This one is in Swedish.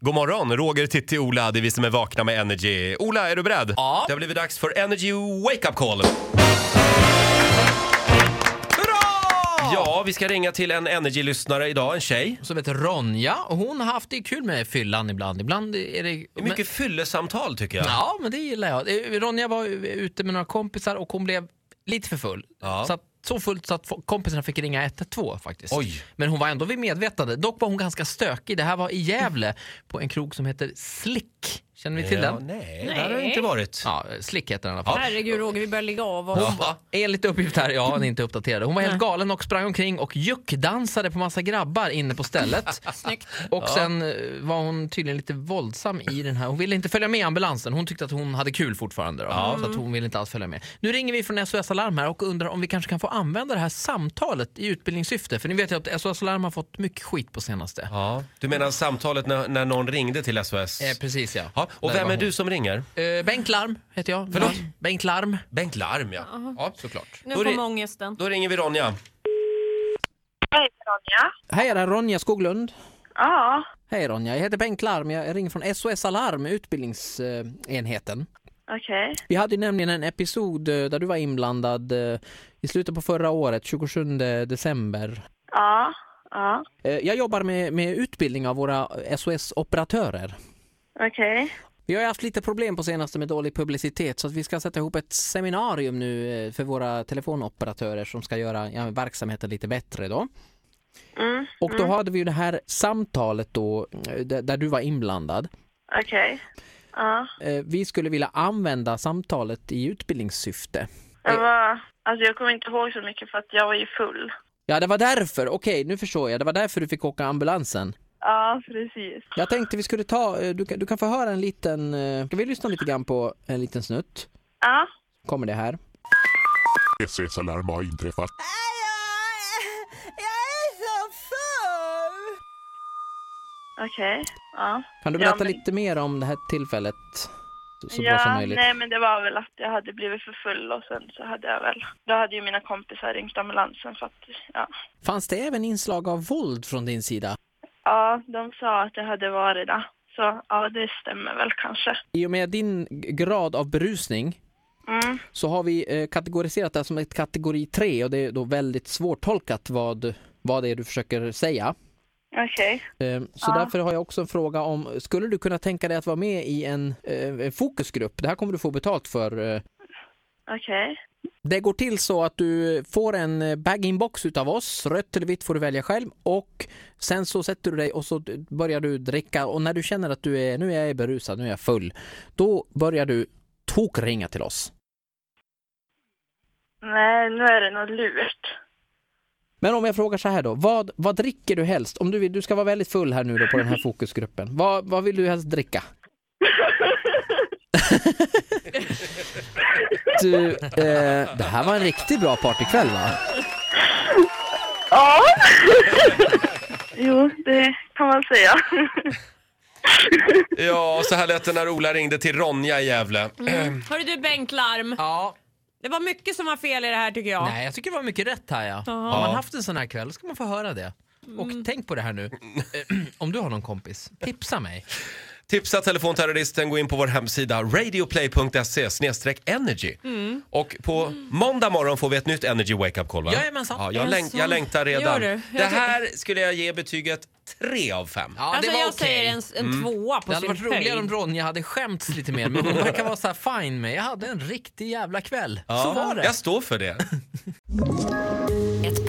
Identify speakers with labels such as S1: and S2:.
S1: God morgon, Roger, Titti, Ola, det är vi som är vakna med Energy. Ola, är du beredd?
S2: Ja.
S1: Det har blivit dags för Energy Wake Up Call.
S2: Hurra!
S1: Ja, vi ska ringa till en Energy-lyssnare idag, en tjej.
S2: Som heter Ronja och hon har haft det kul med fyllan ibland. Ibland är det...
S1: Det är mycket fyllesamtal tycker jag.
S2: Ja, men det gillar jag. Eh, Ronja var ju ute med några kompisar och hon blev lite för full.
S1: Ja.
S2: Så, att, så fullt så att fo- kompisarna fick ringa 112 faktiskt.
S1: Oj.
S2: Men hon var ändå vid medvetande. Dock var hon ganska stökig. Det här var i Gävle på en krog som heter Slick. Känner ni till
S1: Ja,
S2: den?
S1: nej, där har det inte varit.
S2: Ja, Slick heter den i alla fall.
S3: Herregud Roger, vi börjar ligga av. Och...
S2: Hon var, enligt uppgift här, ja han är inte uppdaterad. Hon var helt galen och sprang omkring och juckdansade på massa grabbar inne på stället.
S3: Snyggt.
S2: Och sen eh, var hon tydligen lite våldsam i den här. Hon ville inte följa med ambulansen. Hon tyckte att hon hade kul fortfarande. Då, Så att
S1: Mm.
S2: hon ville inte alls följa med. Nu ringer vi från SOS Alarm här och undrar om vi kanske kan få använda det här samtalet i utbildningssyfte. För ni vet ju att SOS Alarm har fått mycket skit på senaste.
S1: Ja. Du menar samtalet när, när någon ringde till SOS?
S2: Eh, precis ja.
S1: Ja, och
S2: Där
S1: vem
S2: var
S1: är
S2: hon.
S1: du som ringer?
S2: Eh, Bengt Larm heter jag.
S1: Förlåt?
S2: Ja, Bengt Larm.
S1: Bengt Larm, ja.
S2: Ja, såklart.
S3: Nu
S1: Då är det-
S3: kommer ångesten.
S1: Då ringer vi Ronja.
S4: Hej Ronja.
S2: Hej, är det Ronja Skoglund?
S4: Ja,
S2: Hej Ronja, jag heter Bengt Larm. Jag ringer från SOS Alarm, utbildningsenheten.
S4: okej.
S2: Vi hade ju nämligen en episod eh, där du var inblandad eh, i slutet på förra året, 27 december.
S4: Ja, ja,
S2: Eh, Jag jobbar med, med utbildning av våra SOS-operatörer.
S4: okej.
S2: Vi har ju haft lite problem på senaste med dålig publicitet så att vi ska sätta ihop ett seminarium nu eh, för våra telefonoperatörer som ska göra ja, verksamheten lite bättre då.
S4: Mm,
S2: Och då hade vi ju det här samtalet då eh, där där du var inblandad.
S4: okej. Ja,
S2: Eh, Vi skulle vilja använda samtalet i utbildningssyfte.
S4: jag var... Alltså jag kommer inte ihåg så mycket för att jag var ju full.
S2: Ja, det var därför. Okej, nu förstår jag. Det var därför du fick åka ambulansen.
S4: Ja, precis.
S2: Jag tänkte vi skulle ta, eh, du kan, du kan få höra en liten, eh, ska vi lyssna lite grann på en liten snutt?
S4: Ja,
S2: Kommer det här.
S5: SS-alarm har inträffat.
S4: okej. Ja.
S2: Kan du
S4: Ja,
S2: berätta
S4: men-
S2: lite mer om det här tillfället? Så, så bra som
S4: ja,
S2: möjligt.
S4: nej men det var väl att jag hade blivit för full och sen så hade jag väl... Då hade ju mina kompisar ringt ambulansen för att... Ja,
S2: Fanns det även inslag av våld från din sida?
S4: ja de sa att jag hade varit där. Så ja, det stämmer väl kanske.
S2: I och med din g- grad av berusning
S4: Mm,
S2: så har vi eh, kategoriserat det här som ett kategori 3 och det är då väldigt svårtolkat vad, vad det är du försöker säga.
S4: okej.
S2: Eh, Så därför har jag också en fråga om, skulle du kunna tänka dig att vara med i en eh, fokusgrupp? Det här kommer du få betalt för. eh.
S4: Okej.
S2: Det går till så att du får en eh, bag-in-box utav oss, rött eller vitt får du välja själv och sen så sätter du dig och så d- börjar du dricka och när du känner att du är, nu är jag berusad, nu är jag full, då börjar du tokringa till oss.
S4: Nej, nu är det något lurt.
S2: Men om jag frågar så här då, vad, vad dricker du helst? Om du vill, du ska vara väldigt full här nu då på den här fokusgruppen. Vad, vad vill du helst dricka? Du, eh, det här var en riktigt bra partykväll va?
S4: Ja. jo, det kan man säga.
S1: Ja, så här lät det när Ola ringde till Ronja i Gävle.
S3: Hörru du Bengt Larm,
S2: Ja,
S3: det var mycket som var fel i det här tycker jag.
S2: Nej, jag tycker det var mycket rätt här ja. Har man haft en sån här kväll ska man få höra det.
S3: Mm.
S2: Och tänk på det här nu. Eh, Om du har någon kompis, tipsa mig.
S1: Tipsa telefonterroristen, gå in på vår hemsida radioplay.se energy. Och på måndag morgon får vi ett nytt Energy Wake Up Call va?
S2: Jajamensan.
S1: Ja, jag, läng-
S3: Jaså.
S1: jag längtar
S3: Gör
S1: redan.
S3: du? Jag
S1: det
S3: tycker-
S1: här skulle jag ge betyget 3 av 5.
S2: Ja,
S3: Alltså
S2: det var
S3: jag
S2: okej. Mm.
S3: säger en, en tvåa på
S2: Det hade
S3: sin
S2: varit roligare om Ronja hade skämts lite mer, men hon verkar vara så här fine med. Jag hade en riktig jävla kväll. Så var det.
S1: Jag står för det.
S6: Ett